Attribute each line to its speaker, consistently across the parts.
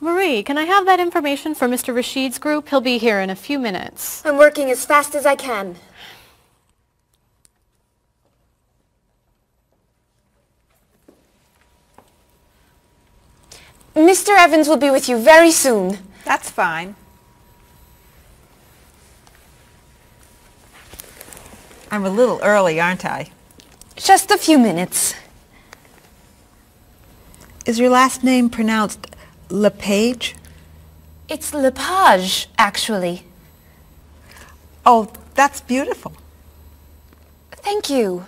Speaker 1: Marie, can I have that information for Mr. Rashid's group? He'll be here in a few minutes.
Speaker 2: I'm working as fast as I can. Mr. Evans will be with you very soon.
Speaker 3: That's fine. I'm a little early, aren't I?
Speaker 2: Just a few minutes.
Speaker 3: Is your last name pronounced LePage?
Speaker 2: It's Lepage, actually.
Speaker 3: Oh, that's beautiful.
Speaker 2: Thank you.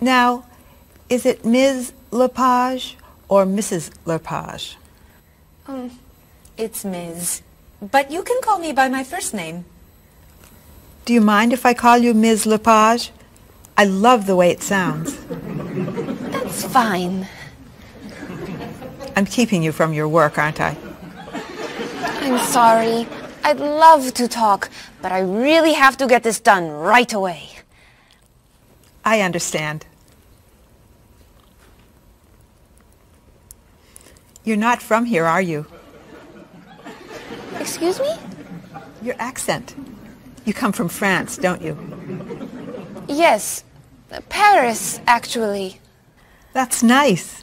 Speaker 3: Now, is it Ms. LePage or Mrs. LePage?
Speaker 2: Um, It's Ms. But you can call me by my first name.
Speaker 3: Do you mind if I call you Ms. LePage? I love the way it sounds.
Speaker 2: It's fine.
Speaker 3: I'm keeping you from your work, aren't I?
Speaker 2: I'm sorry. I'd love to talk, but I really have to get this done right away.
Speaker 3: I understand. You're not from here, are you?
Speaker 2: Excuse me?
Speaker 3: Your accent. You come from France, don't you?
Speaker 2: Yes. Paris, actually.
Speaker 3: That's nice.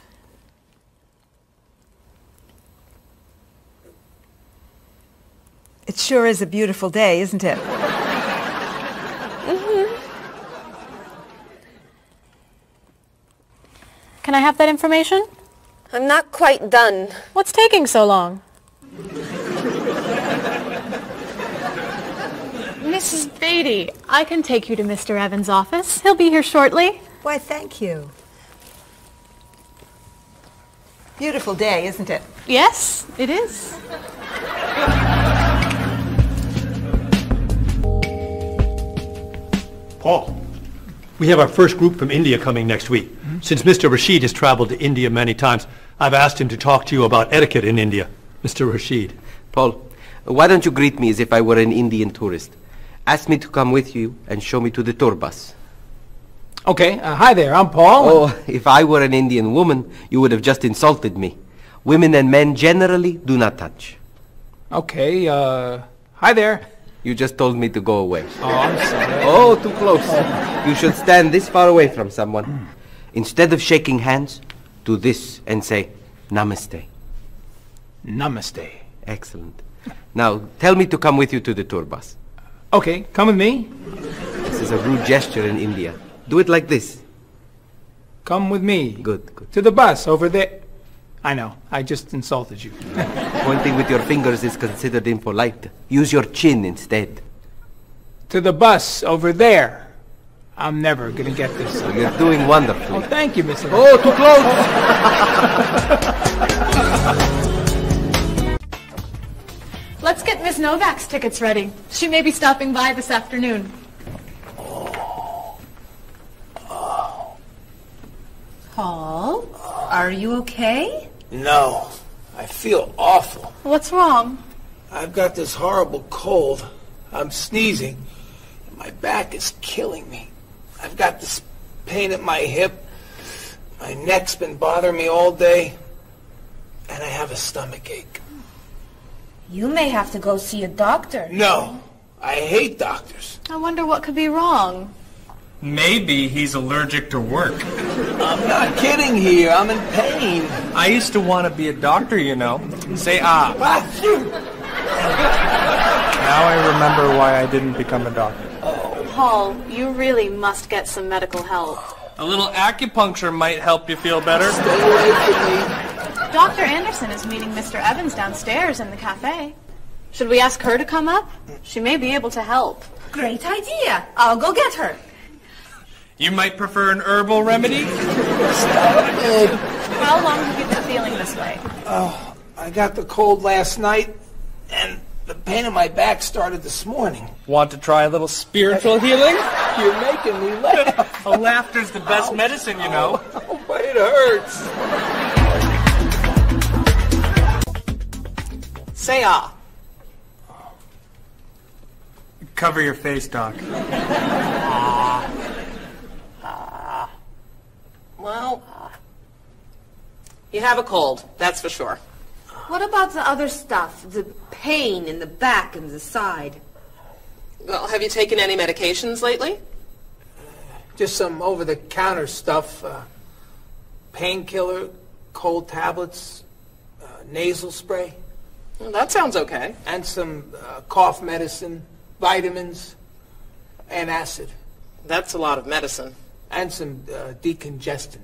Speaker 3: It sure is a beautiful day, isn't it?
Speaker 4: Mm-hmm.
Speaker 1: Can I have that information?
Speaker 2: I'm not quite done.
Speaker 1: What's taking so long? Mrs. Beatty, I can take you to Mr. Evans' office. He'll be here shortly.
Speaker 3: Why, thank you. Beautiful day, isn't it?
Speaker 1: Yes, it is.
Speaker 5: Paul, we have our first group from India coming next week. Since Mr. Rashid has traveled to India many times, I've asked him to talk to you about etiquette in India. Mr. Rashid.
Speaker 6: Paul, why don't you greet me as if I were an Indian tourist? Ask me to come with you and show me to the tour bus.
Speaker 7: Okay, uh, hi there, I'm Paul.
Speaker 6: Oh, if I were an Indian woman, you would have just insulted me. Women and men generally do not touch.
Speaker 7: Okay, uh, hi there.
Speaker 6: You just told me to go away.
Speaker 7: Oh, I'm sorry.
Speaker 6: Oh, too close. You should stand this far away from someone. Instead of shaking hands, do this and say, Namaste.
Speaker 7: Namaste.
Speaker 6: Excellent. Now, tell me to come with you to the tour bus.
Speaker 7: Okay, come with me.
Speaker 6: This is a rude gesture in India. Do it like this.
Speaker 7: Come with me.
Speaker 6: Good, good.
Speaker 7: To the bus over there. I know, I just insulted you.
Speaker 6: Pointing with your fingers is considered impolite. Use your chin instead.
Speaker 7: to the bus over there. I'm never gonna get this.
Speaker 6: You're doing
Speaker 7: Oh,
Speaker 6: wonderfully.
Speaker 7: thank you, Mr.
Speaker 6: Oh, too close!
Speaker 1: Let's get Miss Novak's tickets ready. She may be stopping by this afternoon.
Speaker 8: Paul, are you okay?
Speaker 4: No, I feel awful.
Speaker 1: What's wrong?
Speaker 4: I've got this horrible cold. I'm sneezing. And my back is killing me. I've got this pain at my hip. My neck's been bothering me all day. And I have a stomach ache.
Speaker 8: You may have to go see a doctor.
Speaker 4: No, I hate doctors.
Speaker 1: I wonder what could be wrong.
Speaker 9: Maybe he's allergic to work.
Speaker 4: I'm not kidding here. I'm in pain.
Speaker 9: I used to want to be a doctor, you know. Say ah.
Speaker 4: Ah, shoot.
Speaker 9: Now I remember why I didn't become a doctor.
Speaker 1: Paul, you really must get some medical help.
Speaker 9: A little acupuncture might help you feel better.
Speaker 4: Stay away from me.
Speaker 1: Dr. Anderson is meeting Mr. Evans downstairs in the cafe. Should we ask her to come up? She may be able to help.
Speaker 8: Great idea. I'll go get her.
Speaker 9: You might prefer an herbal remedy?
Speaker 1: How long have you been feeling this way?
Speaker 4: Oh, I got the cold last night, and the pain in my back started this morning.
Speaker 9: Want to try a little spiritual healing?
Speaker 4: You're making me laugh.
Speaker 9: Laughter's the best medicine, you know.
Speaker 4: Oh, but it hurts.
Speaker 7: Say ah.
Speaker 9: Cover your face, Doc.
Speaker 10: Well, you have a cold, that's for sure.
Speaker 11: What about the other stuff? The pain in the back and the side?
Speaker 10: Well, have you taken any medications lately?
Speaker 12: Just some over-the-counter stuff. Uh, painkiller, cold tablets, uh, nasal spray.
Speaker 10: Well, that sounds okay.
Speaker 12: And some uh, cough medicine, vitamins, and acid.
Speaker 10: That's a lot of medicine. Mm,
Speaker 12: And some uh, decongestant.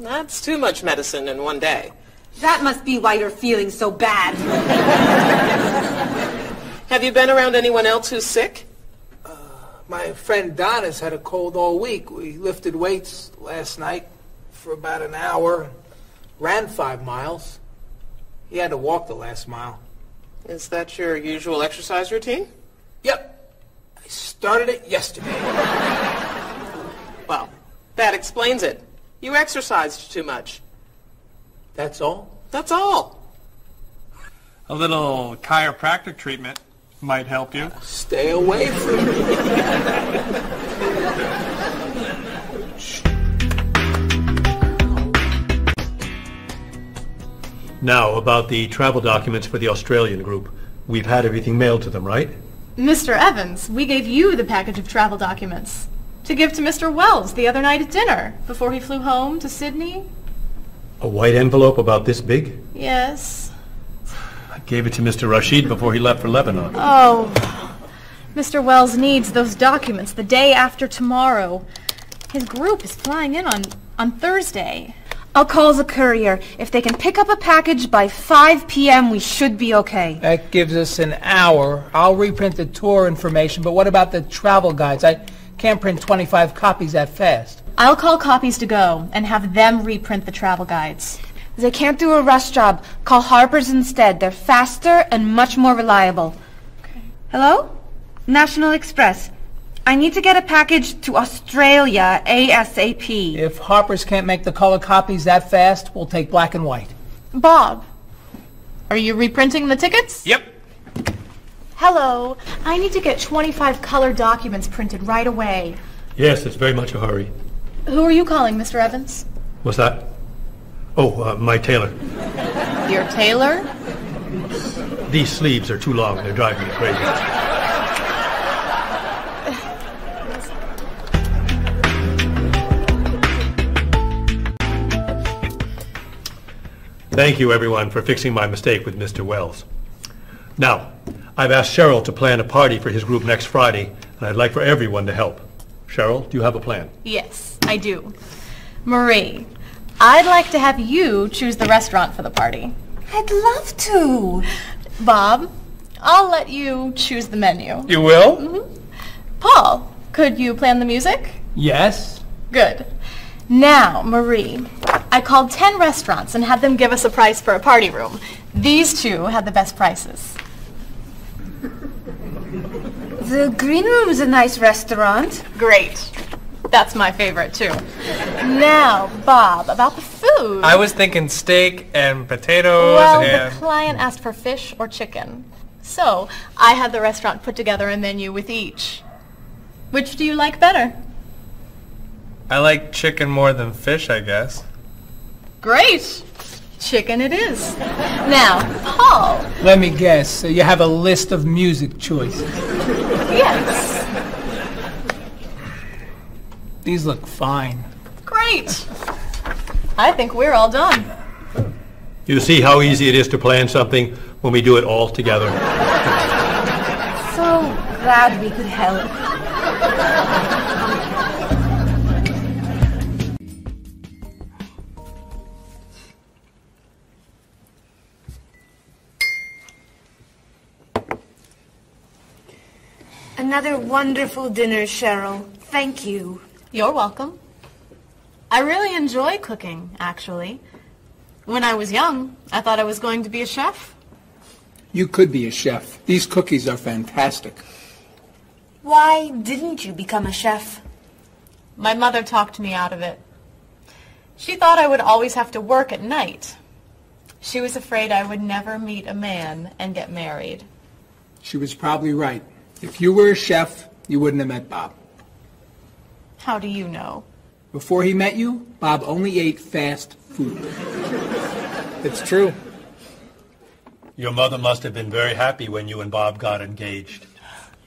Speaker 10: That's too much medicine in one day.
Speaker 11: That must be why you're feeling so bad.
Speaker 10: Have you been around anyone else who's sick?
Speaker 12: Uh, my friend Donna's had a cold all week. We lifted weights last night for about an hour, ran five miles. He had to walk the last mile.
Speaker 10: Is that your usual exercise routine?
Speaker 12: Yep. I started it yesterday.
Speaker 10: well, that explains it. You exercised too much.
Speaker 12: That's all?
Speaker 10: That's all.
Speaker 9: A little chiropractic treatment might help you.
Speaker 12: Stay away from
Speaker 5: me. now, about the travel documents for the Australian group. We've had everything mailed to them, right?
Speaker 1: Mr. Evans, we gave you the package of travel documents to give to Mr. Wells the other night at dinner before he flew home to Sydney.
Speaker 5: A white envelope about this big?
Speaker 1: Yes.
Speaker 5: I gave it to Mr. Rashid before he left for Lebanon.
Speaker 1: Oh. Mr. Wells needs those documents the day after tomorrow. His group is flying in on, on Thursday.
Speaker 2: I'll call the courier. If they can pick up a package by 5 p.m., we should be okay.
Speaker 13: That gives us an hour. I'll reprint the tour information, but what about the travel guides? I can't print 25 copies that fast.
Speaker 1: I'll call copies to go and have them reprint the travel guides.
Speaker 2: They can't do a rush job. Call Harper's instead. They're faster and much more reliable. Okay. Hello? National Express. I need to get a package to Australia ASAP.
Speaker 13: If Harper's can't make the color copies that fast, we'll take black and white.
Speaker 1: Bob, are you reprinting the tickets?
Speaker 9: Yep.
Speaker 1: Hello, I need to get 25 color documents printed right away.
Speaker 5: Yes, it's very much a hurry.
Speaker 1: Who are you calling, Mr. Evans?
Speaker 5: What's that? Oh, uh, my tailor.
Speaker 1: Your tailor?
Speaker 5: These sleeves are too long. They're driving me crazy. Thank you, everyone, for fixing my mistake with Mr. Wells. Now, I've asked Cheryl to plan a party for his group next Friday, and I'd like for everyone to help. Cheryl, do you have a plan?
Speaker 1: Yes, I do. Marie, I'd like to have you choose the restaurant for the party.
Speaker 8: I'd love to.
Speaker 1: Bob, I'll let you choose the menu.
Speaker 9: You will? Mm-hmm.
Speaker 1: Paul, could you plan the music?
Speaker 13: Yes.
Speaker 1: Good. Now, Marie, I called 10 restaurants and had them give us a price for a party room. These two had the best prices.
Speaker 2: The Green Room's a nice restaurant.
Speaker 1: Great. That's my favorite, too. now, Bob, about the food.
Speaker 9: I was thinking steak and potatoes
Speaker 1: well,
Speaker 9: and...
Speaker 1: the client asked for fish or chicken. So, I had the restaurant put together a menu with each. Which do you like better?
Speaker 9: I like chicken more than fish, I guess.
Speaker 1: Great. Chicken it is. Now, Paul.
Speaker 13: Let me guess. So you have a list of music choices.
Speaker 1: Yes.
Speaker 13: These look fine.
Speaker 1: Great. I think we're all done.
Speaker 5: You see how easy it is to plan something when we do it all together.
Speaker 2: so glad we could help.
Speaker 8: Another wonderful dinner, Cheryl. Thank you.
Speaker 1: You're welcome. I really enjoy cooking, actually. When I was young, I thought I was going to be a chef.
Speaker 13: You could be a chef. These cookies are fantastic.
Speaker 8: Why didn't you become a chef?
Speaker 1: My mother talked me out of it. She thought I would always have to work at night. She was afraid I would never meet a man and get married.
Speaker 13: She was probably right. If you were a chef, you wouldn't have met Bob.
Speaker 1: How do you know?
Speaker 13: Before he met you, Bob only ate fast food. it's true.
Speaker 5: Your mother must have been very happy when you and Bob got engaged.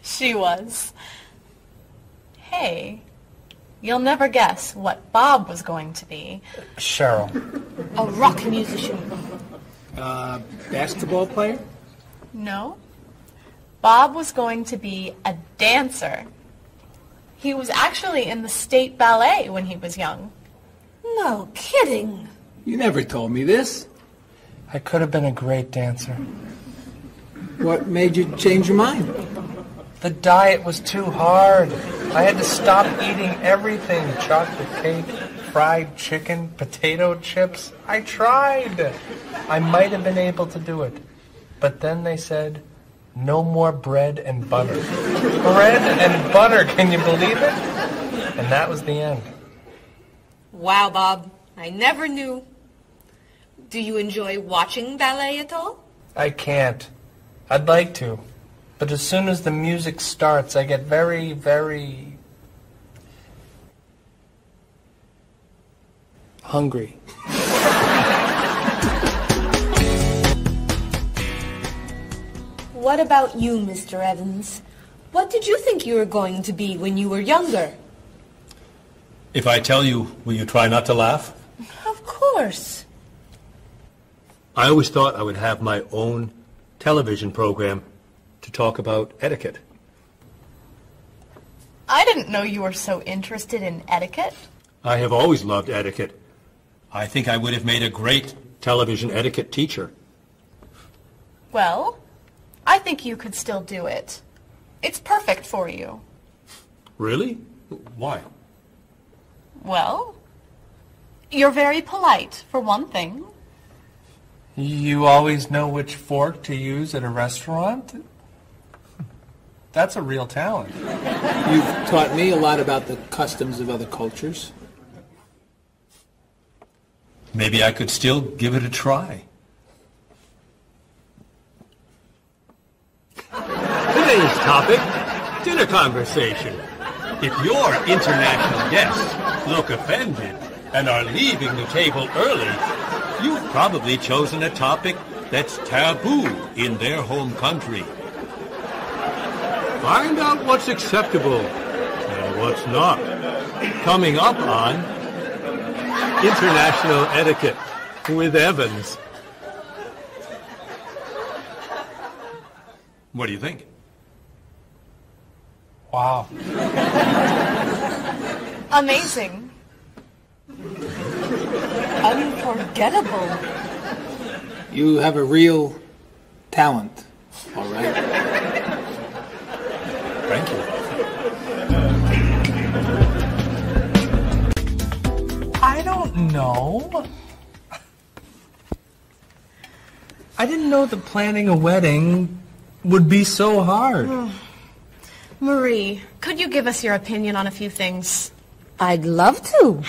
Speaker 1: She was. Hey, you'll never guess what Bob was going to be.
Speaker 4: Cheryl.
Speaker 1: A rock musician.
Speaker 4: Uh, basketball player?
Speaker 1: No. Bob was going to be a dancer. He was actually in the state ballet when he was young. No kidding.
Speaker 4: You never told me this.
Speaker 9: I could have been a great dancer.
Speaker 4: What made you change your mind?
Speaker 9: The diet was too hard. I had to stop eating everything chocolate cake, fried chicken, potato chips. I tried. I might have been able to do it. But then they said, no more bread and butter. bread and butter, can you believe it? And that was the end.
Speaker 14: Wow, Bob. I never knew. Do you enjoy watching ballet at all?
Speaker 9: I can't. I'd like to. But as soon as the music starts, I get very, very hungry.
Speaker 14: What about you, Mr. Evans? What did you think you were going to be when you were younger?
Speaker 5: If I tell you, will you try not to laugh?
Speaker 14: Of course.
Speaker 5: I always thought I would have my own television program to talk about etiquette.
Speaker 1: I didn't know you were so interested in etiquette.
Speaker 5: I have always loved etiquette. I think I would have made a great television etiquette teacher.
Speaker 1: Well, I think you could still do it. It's perfect for you.
Speaker 5: Really? Why?
Speaker 1: Well, you're very polite, for one thing.
Speaker 9: You always know which fork to use at a restaurant? That's a real talent.
Speaker 4: You've taught me a lot about the customs of other cultures.
Speaker 5: Maybe I could still give it a try. Today's topic, dinner conversation. If your international guests look offended and are leaving the table early, you've probably chosen a topic that's taboo in their home country. Find out what's acceptable and what's not. Coming up on International Etiquette with Evans. What do you think?
Speaker 9: Wow.
Speaker 1: Amazing.
Speaker 14: Unforgettable.
Speaker 4: You have a real talent, all right?
Speaker 5: Thank you.
Speaker 9: I don't know. I didn't know that planning a wedding would be so hard.
Speaker 1: Marie, could you give us your opinion on a few things?
Speaker 14: I'd love to.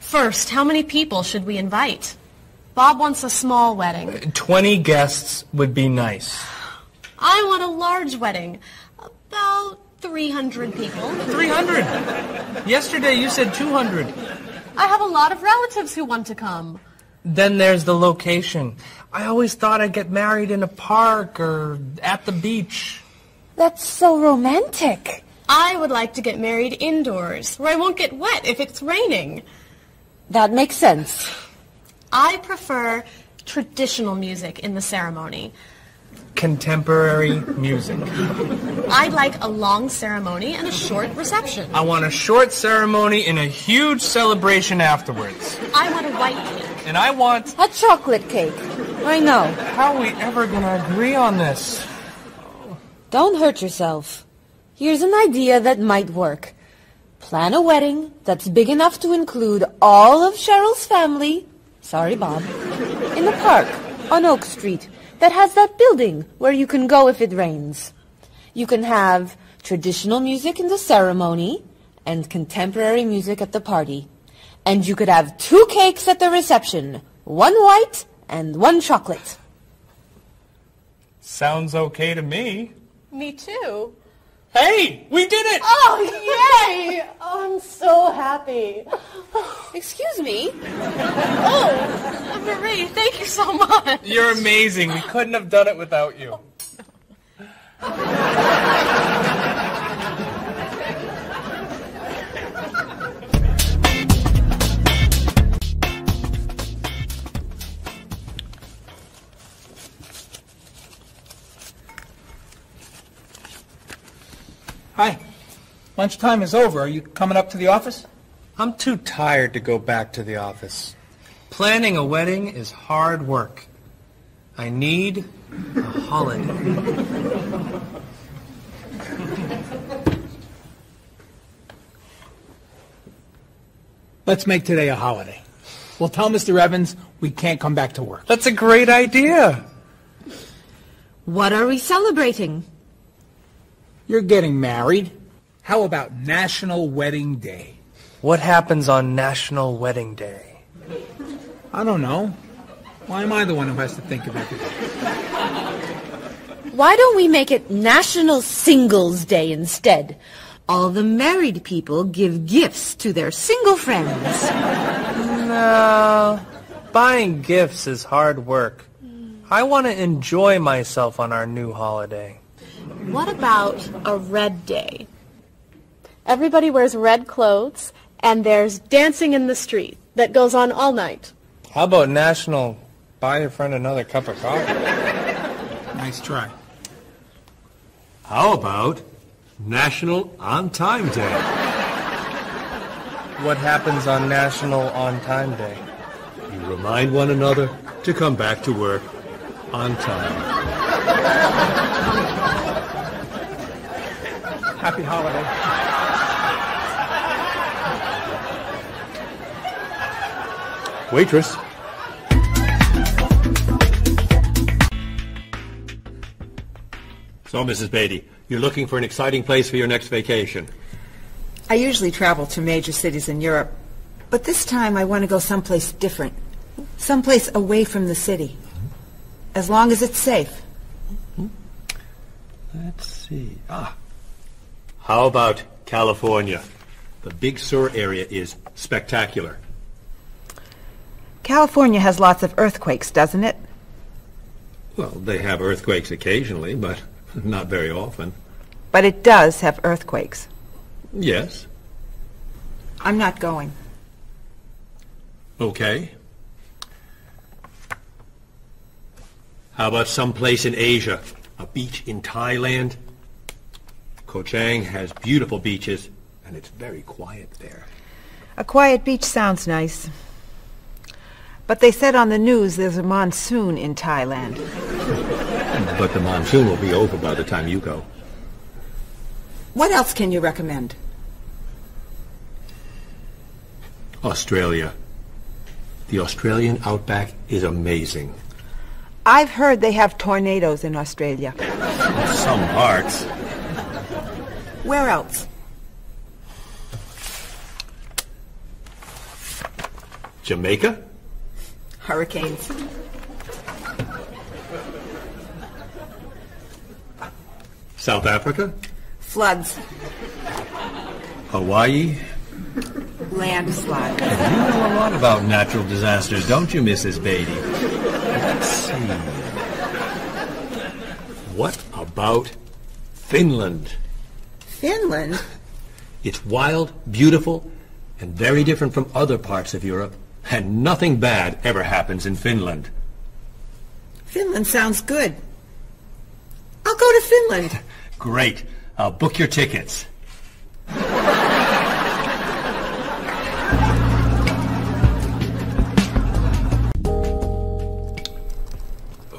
Speaker 1: First, how many people should we invite? Bob wants a small wedding.
Speaker 9: 20 guests would be nice.
Speaker 1: I want a large wedding. About 300 people.
Speaker 9: 300? Yesterday you said 200.
Speaker 1: I have a lot of relatives who want to come.
Speaker 9: Then there's the location. I always thought I'd get married in a park or at the beach.
Speaker 1: That's so romantic. I would like to get married indoors, where I won't get wet if it's raining.
Speaker 14: That makes sense.
Speaker 1: I prefer traditional music in the ceremony.
Speaker 9: Contemporary music.
Speaker 1: I'd like a long ceremony and a short reception.
Speaker 9: I want a short ceremony and a huge celebration afterwards.
Speaker 1: I want a white cake.
Speaker 9: And I want
Speaker 2: a chocolate cake. I know.
Speaker 9: How are we ever going to agree on this?
Speaker 2: Don't hurt yourself. Here's an idea that might work. Plan a wedding that's big enough to include all of Cheryl's family, sorry Bob, in the park on Oak Street that has that building where you can go if it rains. You can have traditional music in the ceremony and contemporary music at the party. And you could have two cakes at the reception, one white and one chocolate.
Speaker 9: Sounds okay to me.
Speaker 1: Me too.
Speaker 15: Hey, we did it!
Speaker 1: Oh, yay! Oh, I'm so happy.
Speaker 16: Excuse me?
Speaker 1: Oh, Marie, thank you so much.
Speaker 9: You're amazing. We couldn't have done it without you.
Speaker 4: Hi. Lunchtime is over. Are you coming up to the office?
Speaker 9: I'm too tired to go back to the office. Planning a wedding is hard work. I need a holiday.
Speaker 4: Let's make today a holiday. We'll tell Mr. Evans we can't come back to work.
Speaker 9: That's a great idea.
Speaker 17: What are we celebrating?
Speaker 4: You're getting married. How about National Wedding Day?
Speaker 9: What happens on National Wedding Day?
Speaker 4: I don't know. Why am I the one who has to think of everything?
Speaker 17: Why don't we make it National Singles Day instead? All the married people give gifts to their single friends.
Speaker 9: No. Buying gifts is hard work. I want to enjoy myself on our new holiday.
Speaker 18: What about a red day?
Speaker 1: Everybody wears red clothes, and there's dancing in the street that goes on all night.
Speaker 9: How about National Buy Your Friend Another Cup of Coffee?
Speaker 4: Nice try.
Speaker 5: How about National On Time Day?
Speaker 9: What happens on National On Time Day?
Speaker 5: You remind one another to come back to work on time.
Speaker 4: Happy holiday.
Speaker 5: Waitress. So, Mrs. Beatty, you're looking for an exciting place for your next vacation.
Speaker 3: I usually travel to major cities in Europe, but this time I want to go someplace different, someplace away from the city, as long as it's safe.
Speaker 5: Let's see. Ah. How about California? The Big Sur area is spectacular.
Speaker 19: California has lots of earthquakes, doesn't it?
Speaker 5: Well, they have earthquakes occasionally, but not very often.
Speaker 19: But it does have earthquakes.
Speaker 5: Yes.
Speaker 3: I'm not going.
Speaker 5: Okay. How about someplace in Asia? A beach in Thailand? Koh Chang has beautiful beaches, and it's very quiet there.
Speaker 19: A quiet beach sounds nice. But they said on the news there's a monsoon in Thailand.
Speaker 5: But the monsoon will be over by the time you go.
Speaker 3: What else can you recommend?
Speaker 5: Australia. The Australian outback is amazing.
Speaker 19: I've heard they have tornadoes in Australia.
Speaker 5: Some parts.
Speaker 3: Where else?
Speaker 5: Jamaica?
Speaker 3: Hurricanes.
Speaker 5: South Africa?
Speaker 3: Floods.
Speaker 5: Hawaii?
Speaker 3: Landslides.
Speaker 5: You know a lot about natural disasters, don't you, Mrs. Beatty? Let's see. What about Finland?
Speaker 3: Finland?
Speaker 5: It's wild, beautiful, and very different from other parts of Europe, and nothing bad ever happens in Finland.
Speaker 3: Finland sounds good. I'll go to Finland.
Speaker 5: Great. I'll book your tickets.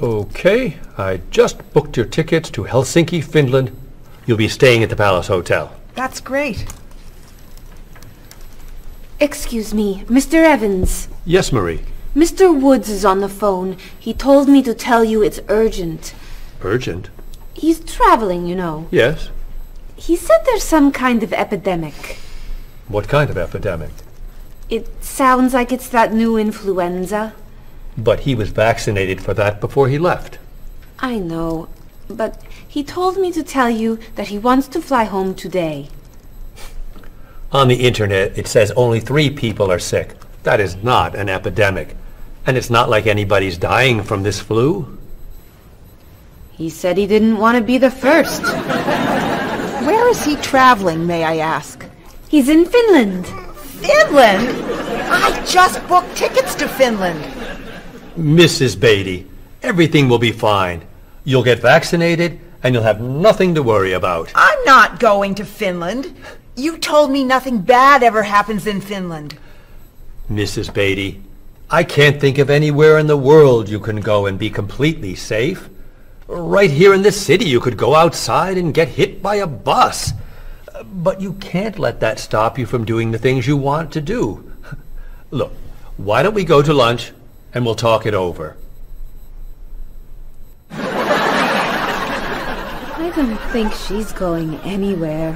Speaker 5: Okay, I just booked your tickets to Helsinki, Finland. You'll be staying at the Palace Hotel.
Speaker 19: That's great.
Speaker 2: Excuse me, Mr. Evans.
Speaker 5: Yes, Marie.
Speaker 2: Mr. Woods is on the phone. He told me to tell you it's urgent.
Speaker 5: Urgent?
Speaker 2: He's traveling, you know.
Speaker 5: Yes.
Speaker 2: He said there's some kind of epidemic.
Speaker 5: What kind of epidemic?
Speaker 2: It sounds like it's that new influenza.
Speaker 5: But he was vaccinated for that before he left.
Speaker 2: I know, but He told me to tell you that he wants to fly home today.
Speaker 5: On the internet, it says only three people are sick. That is not an epidemic. And it's not like anybody's dying from this flu.
Speaker 2: He said he didn't want to be the first.
Speaker 20: Where is he traveling, may I ask?
Speaker 2: He's in Finland.
Speaker 20: Finland? I just booked tickets to Finland.
Speaker 5: Mrs. Beatty, everything will be fine. You'll get vaccinated and you'll have nothing to worry about.
Speaker 20: I'm not going to Finland. You told me nothing bad ever happens in Finland.
Speaker 5: Mrs. Beatty, I can't think of anywhere in the world you can go and be completely safe. Right here in this city, you could go outside and get hit by a bus. But you can't let that stop you from doing the things you want to do. Look, why don't we go to lunch and we'll talk it over?
Speaker 2: I don't think she's going anywhere.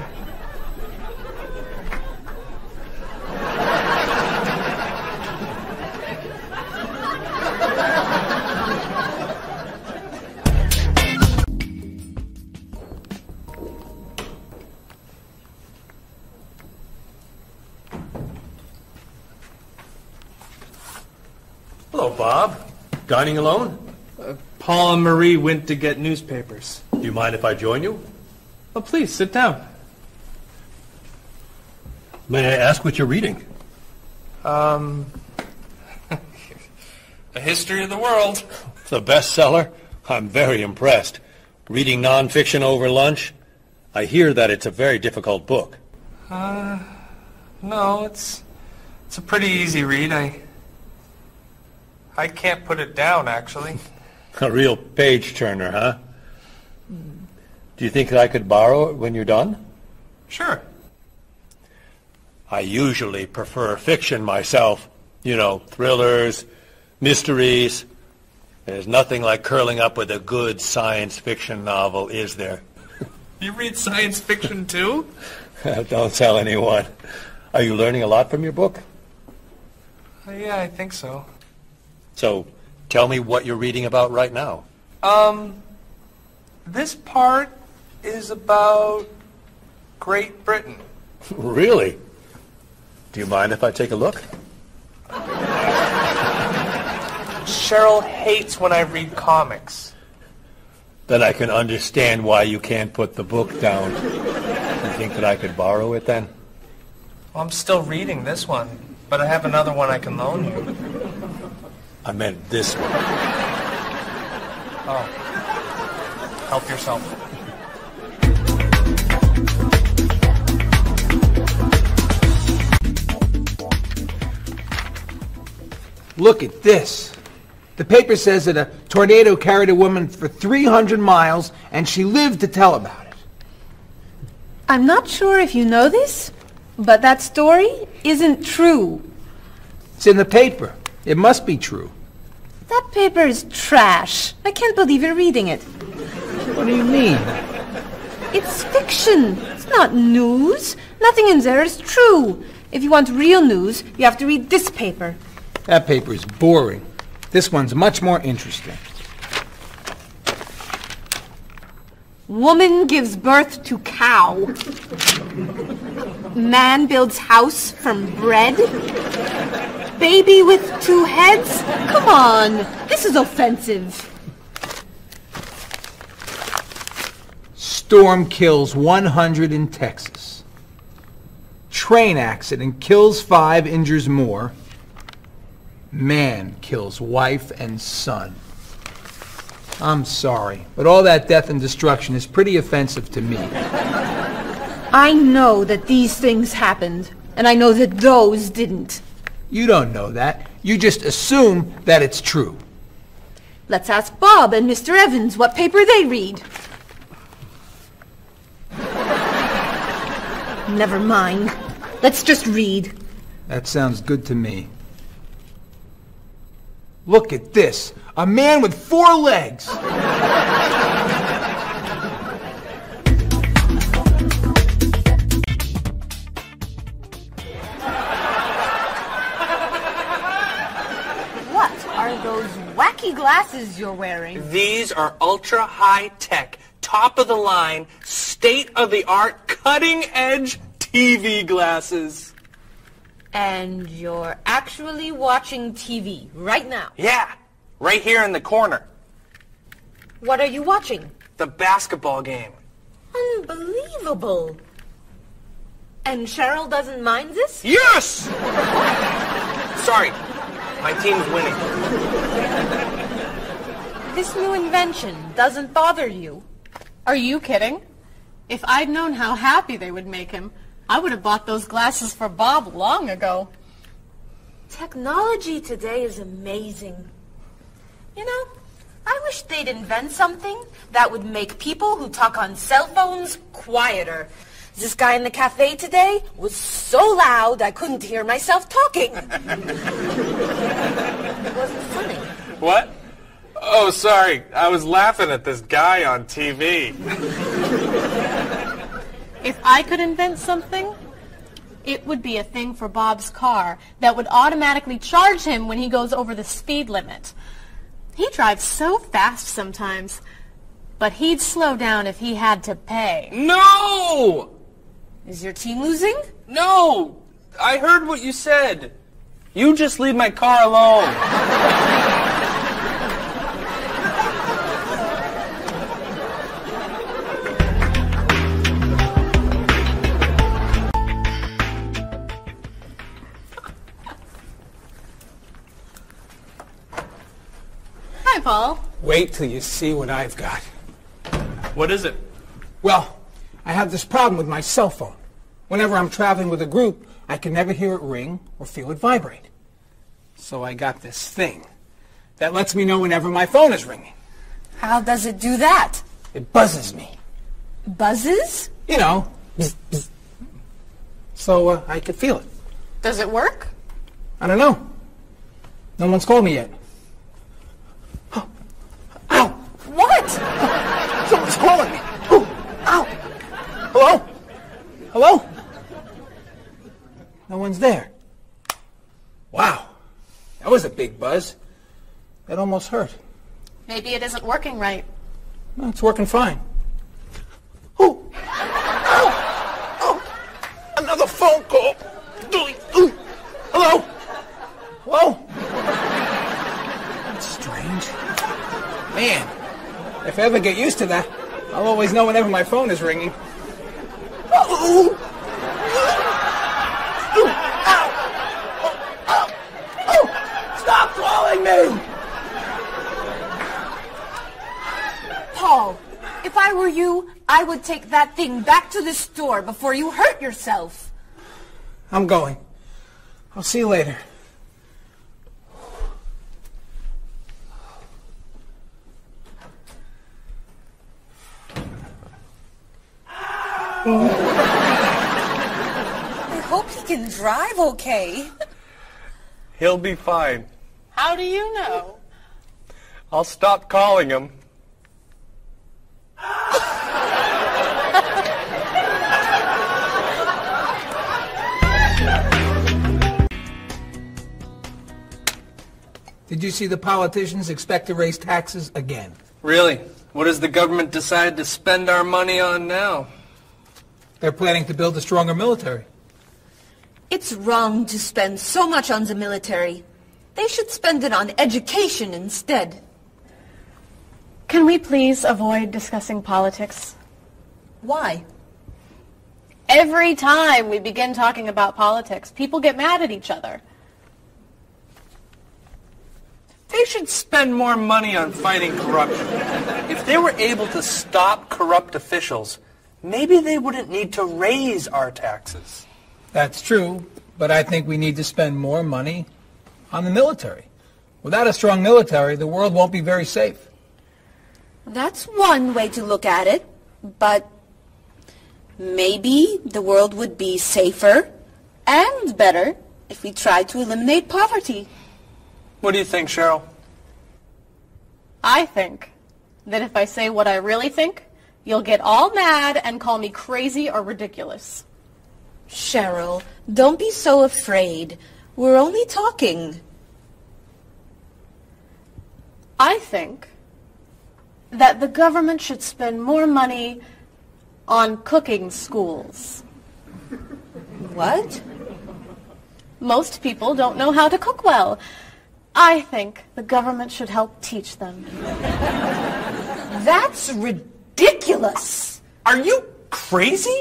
Speaker 9: Hello, Bob.
Speaker 5: Dining alone?
Speaker 9: Uh, Paul and Marie went to get newspapers.
Speaker 5: Do you mind if I join you?
Speaker 9: Oh, please, sit down.
Speaker 5: May I ask what you're reading?
Speaker 9: Um, a history of the world.
Speaker 5: The bestseller? I'm very impressed. Reading nonfiction over lunch? I hear that it's a very difficult book.
Speaker 9: Uh, no, it's it's a pretty easy read. I I can't put it down, actually.
Speaker 5: A real page turner, huh? Do you think that I could borrow it when you're done?
Speaker 9: Sure.
Speaker 5: I usually prefer fiction myself. You know, thrillers, mysteries. There's nothing like curling up with a good science fiction novel, is there?
Speaker 9: You read science fiction too?
Speaker 5: Don't tell anyone. Are you learning a lot from your book?
Speaker 9: Uh, yeah, I think so.
Speaker 5: So tell me what you're reading about right now.
Speaker 9: Um, this part is about Great Britain.
Speaker 5: really? Do you mind if I take a look?
Speaker 9: Cheryl hates when I read comics.
Speaker 5: Then I can understand why you can't put the book down. You think that I could borrow it then?
Speaker 9: Well, I'm still reading this one, but I have another one I can loan you.
Speaker 5: I meant this one.
Speaker 9: Oh, help yourself.
Speaker 4: Look at this. The paper says that a tornado carried a woman for 300 miles and she lived to tell about it.
Speaker 2: I'm not sure if you know this, but that story isn't true.
Speaker 4: It's in the paper. It must be true.
Speaker 2: That paper is trash. I can't believe you're reading it.
Speaker 4: What do you mean?
Speaker 2: It's fiction. It's not news. Nothing in there is true. If you want real news, you have to read this paper.
Speaker 4: That paper is boring. This one's much more interesting.
Speaker 2: Woman gives birth to cow. Man builds house from bread. Baby with two heads? Come on. This is offensive.
Speaker 4: Storm kills 100 in Texas. Train accident kills five, injures more. Man kills wife and son. I'm sorry, but all that death and destruction is pretty offensive to me.
Speaker 2: I know that these things happened, and I know that those didn't.
Speaker 4: You don't know that. You just assume that it's true.
Speaker 2: Let's ask Bob and Mr. Evans what paper they read. Never mind. Let's just read.
Speaker 4: That sounds good to me. Look at this. A man with four legs.
Speaker 2: What are those wacky glasses you're wearing?
Speaker 10: These are ultra high tech,
Speaker 9: top of the line, state of the art, cutting edge TV glasses.
Speaker 2: And you're actually watching TV right now.
Speaker 9: Yeah, right here in the corner.
Speaker 2: What are you watching?
Speaker 9: The basketball game.
Speaker 2: Unbelievable. And Cheryl doesn't mind this?
Speaker 9: Yes! Sorry, my team's winning.
Speaker 2: This new invention doesn't bother you.
Speaker 1: Are you kidding? If I'd known how happy they would make him, I would have bought those glasses for Bob long ago.
Speaker 2: Technology today is amazing. You know, I wish they'd invent something that would make people who talk on cell phones quieter. This guy in the cafe today was so loud I couldn't hear myself talking. it wasn't funny.
Speaker 9: What? Oh, sorry. I was laughing at this guy on TV.
Speaker 1: If I could invent something, it would be a thing for Bob's car that would automatically charge him when he goes over the speed limit. He drives so fast sometimes, but he'd slow down if he had to pay.
Speaker 9: No!
Speaker 2: Is your team losing?
Speaker 9: No! I heard what you said. You just leave my car alone.
Speaker 1: Hi, Paul.
Speaker 4: Wait till you see what I've got.
Speaker 9: What is it?
Speaker 4: Well, I have this problem with my cell phone. Whenever I'm traveling with a group, I can never hear it ring or feel it vibrate. So I got this thing that lets me know whenever my phone is ringing.
Speaker 2: How does it do that?
Speaker 4: It buzzes me.
Speaker 2: Buzzes?
Speaker 4: You know. bzz, bzz. So uh, I could feel it.
Speaker 1: Does it work?
Speaker 4: I don't know. No one's called me yet.
Speaker 2: What?
Speaker 4: Someone's calling me. Who? Ow. Hello? Hello? No one's there. Wow. That was a big buzz. That almost hurt.
Speaker 1: Maybe it isn't working right.
Speaker 4: No, it's working fine.
Speaker 21: Another phone call.
Speaker 4: Hello? Hello? That's strange. Man, if I ever get used to that, I'll always know whenever my phone is ringing. Oh! Oh,
Speaker 21: Stop calling me!
Speaker 2: Paul, if I were you, I would take that thing back to the store before you hurt yourself.
Speaker 4: I'm going. I'll see you later.
Speaker 2: I hope he can drive okay.
Speaker 9: He'll be fine.
Speaker 1: How do you know?
Speaker 9: I'll stop calling him.
Speaker 22: Did you see the politicians expect to raise taxes again?
Speaker 9: Really? What has the government decided to spend our money on now?
Speaker 22: They're planning to build a stronger military.
Speaker 2: It's wrong to spend so much on the military. They should spend it on education instead.
Speaker 1: Can we please avoid discussing politics?
Speaker 2: Why?
Speaker 1: Every time we begin talking about politics, people get mad at each other.
Speaker 9: They should spend more money on fighting corruption. If they were able to stop corrupt officials, maybe they wouldn't need to raise our taxes.
Speaker 22: That's true, but I think we need to spend more money on the military. Without a strong military, the world won't be very safe.
Speaker 2: That's one way to look at it, but maybe the world would be safer and better if we tried to eliminate poverty.
Speaker 9: What do you think, Cheryl?
Speaker 1: I think that if I say what I really think, you'll get all mad and call me crazy or ridiculous.
Speaker 2: Cheryl, don't be so afraid. We're only talking.
Speaker 1: I think
Speaker 23: that the government should spend more money on cooking schools.
Speaker 24: What?
Speaker 23: Most people don't know how to cook well. I think the government should help teach them.
Speaker 25: That's ridiculous.
Speaker 9: Are you crazy?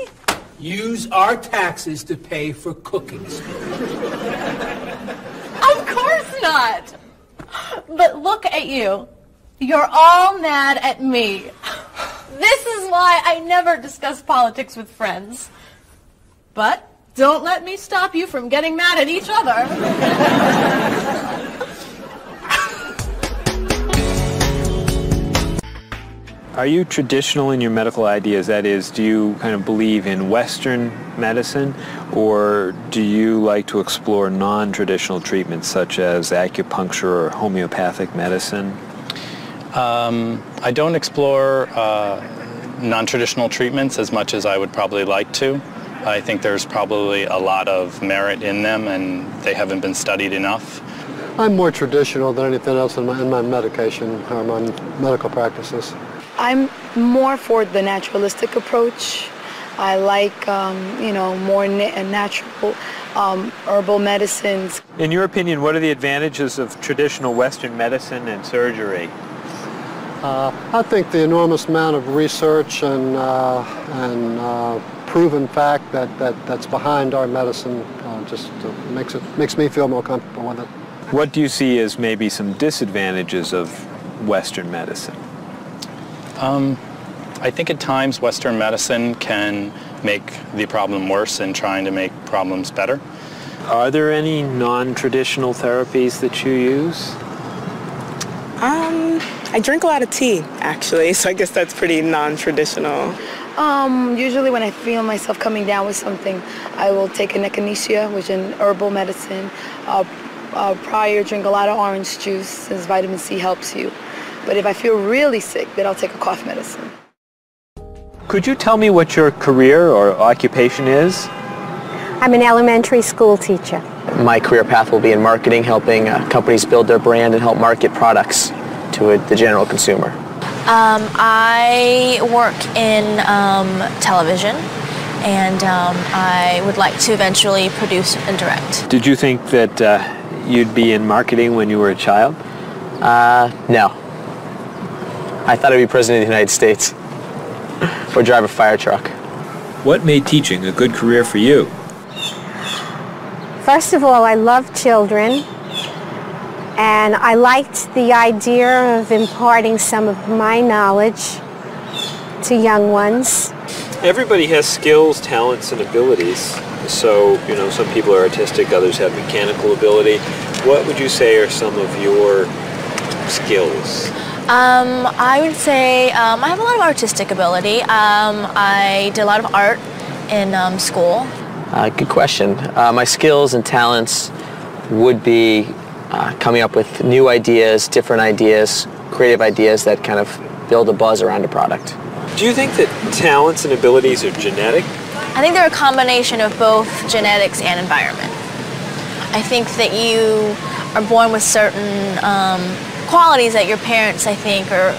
Speaker 21: Use our taxes to pay for cooking school.
Speaker 23: Of course not. But look at you. You're all mad at me. This is why I never discuss politics with friends. But don't let me stop you from getting mad at each other.
Speaker 26: Are you traditional in your medical ideas? That is, do you kind of believe in Western medicine, or do you like to explore non-traditional treatments such as acupuncture or homeopathic medicine?
Speaker 27: Um, I don't explore uh, non-traditional treatments as much as I would probably like to. I think there's probably a lot of merit in them, and they haven't been studied enough.
Speaker 28: I'm more traditional than anything else in my, in my medication or my medical practices.
Speaker 29: I'm more for the naturalistic approach. I like, um, you know, more na- uh, natural um, herbal medicines.
Speaker 26: In your opinion, what are the advantages of traditional Western medicine and surgery?
Speaker 28: Uh, I think the enormous amount of research and, uh, and uh, proven fact that, that, that's behind our medicine uh, just uh, makes, it, makes me feel more comfortable with it.
Speaker 26: What do you see as maybe some disadvantages of Western medicine?
Speaker 27: Um, I think at times Western medicine can make the problem worse in trying to make problems better.
Speaker 26: Are there any non-traditional therapies that you use?
Speaker 30: Um, I drink a lot of tea, actually, so I guess that's pretty non-traditional.
Speaker 29: Um, usually when I feel myself coming down with something, I will take an echinacea, which is an herbal medicine. Uh, uh, prior, drink a lot of orange juice since vitamin C helps you. But if I feel really sick, then I'll take a cough medicine.
Speaker 26: Could you tell me what your career or occupation is?
Speaker 31: I'm an elementary school teacher.
Speaker 32: My career path will be in marketing, helping uh, companies build their brand and help market products to uh, the general consumer.
Speaker 33: Um, I work in um, television, and um, I would like to eventually produce and direct.
Speaker 26: Did you think that uh, you'd be in marketing when you were a child?
Speaker 32: Uh, no. I thought I'd be president of the United States or drive a fire truck.
Speaker 26: What made teaching a good career for you?
Speaker 31: First of all, I love children, and I liked the idea of imparting some of my knowledge to young ones.
Speaker 26: Everybody has skills, talents, and abilities. So, you know, some people are artistic, others have mechanical ability. What would you say are some of your skills?
Speaker 33: Um, I would say um, I have a lot of artistic ability. Um, I did a lot of art in um, school.
Speaker 32: Uh, good question. Uh, my skills and talents would be uh, coming up with new ideas, different ideas, creative ideas that kind of build a buzz around a product.
Speaker 26: Do you think that talents and abilities are genetic?
Speaker 33: I think they're a combination of both genetics and environment. I think that you are born with certain um, qualities that your parents, I think, or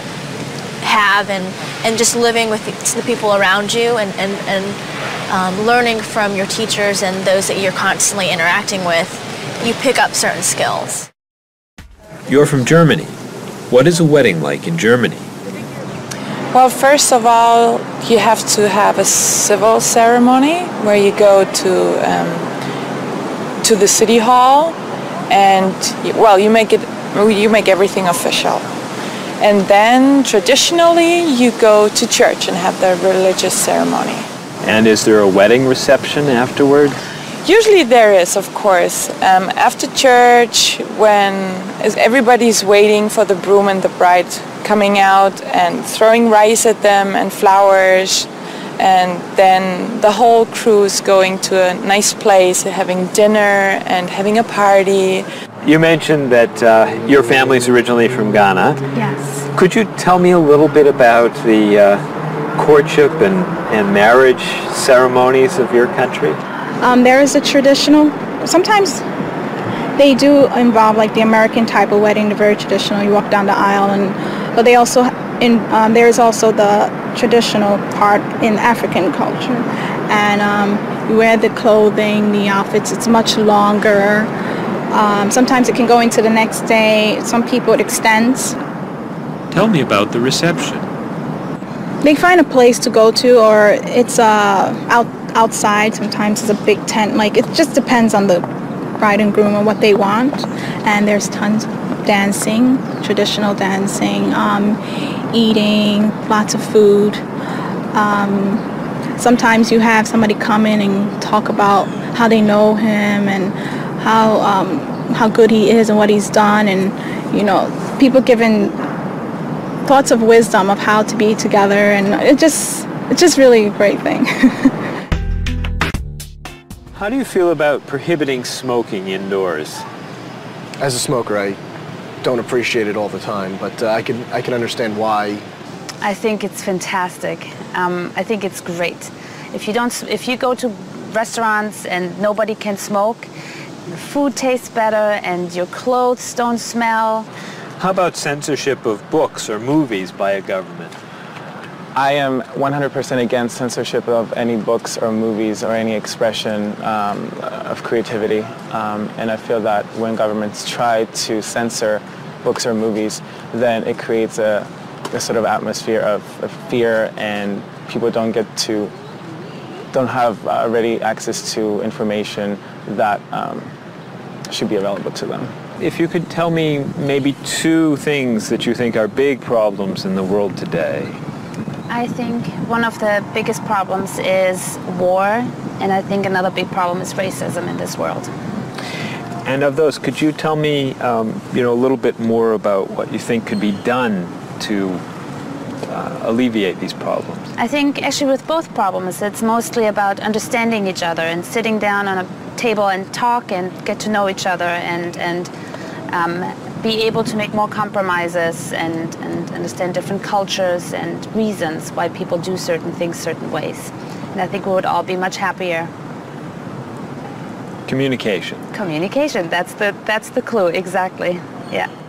Speaker 33: have, and, and just living with the, the people around you and, and, and um, learning from your teachers and those that you're constantly interacting with, you pick up certain skills.
Speaker 26: You're from Germany. What is a wedding like in Germany?
Speaker 34: Well, first of all, you have to have a civil ceremony where you go to um, to the city hall, and y- well, you make it you make everything official. And then traditionally, you go to church and have the religious ceremony.
Speaker 26: And is there a wedding reception afterward?
Speaker 34: Usually there is, of course, um, after church when is- everybody's waiting for the groom and the bride coming out and throwing rice at them and flowers, and then the whole crew is going to a nice place, having dinner and having a party.
Speaker 26: You mentioned that uh, your family's originally from Ghana.
Speaker 31: Yes.
Speaker 26: Could you tell me a little bit about the uh, courtship and, and marriage ceremonies of your country?
Speaker 35: Um, there is a traditional. Sometimes they do involve like the American type of wedding, the very traditional. You walk down the aisle, and but they also in um, there is also the traditional part in African culture, and um, you wear the clothing, the outfits. It's much longer. Um, sometimes it can go into the next day. Some people it extends.
Speaker 1: Tell me about the reception.
Speaker 35: They find a place to go to, or it's uh, out outside. Sometimes it's a big tent. Like it just depends on the bride and groom and what they want. And there's tons of dancing, traditional dancing, um, eating, lots of food. Um, sometimes you have somebody come in and talk about how they know him and how um, how good he is and what he's done, and you know, people giving thoughts of wisdom of how to be together, and it just it's just really a great thing.
Speaker 26: How do you feel about prohibiting smoking indoors?
Speaker 3: As a smoker, I don't appreciate it all the time, but uh, I can I can understand why.
Speaker 36: I think it's fantastic. Um, I think it's great. If you don't, if you go to restaurants and nobody can smoke, food tastes better and your clothes don't smell.
Speaker 26: How about censorship of books or movies by a government?
Speaker 13: I am 100% against censorship of any books or movies or any expression um, of creativity. Um, and I feel that when governments try to censor books or movies, then it creates a, a sort of atmosphere of, of, fear and people don't get to, don't have uh, ready access to information that um, should be available to them.
Speaker 26: If you could tell me maybe two things that you think are big problems in the world today,
Speaker 36: I think one of the biggest problems is war, and I think another big problem is racism in this world.
Speaker 26: And of those, could you tell me, um, you know, a little bit more about what you think could be done to uh, alleviate these problems?
Speaker 36: I think actually with both problems, it's mostly about understanding each other and sitting down on a table and talk and get to know each other and and. Um, be able to make more compromises and, and, understand different cultures and reasons why people do certain things certain ways. And I think we would all be much happier.
Speaker 26: Communication.
Speaker 36: Communication. That's the that's the clue exactly. Yeah.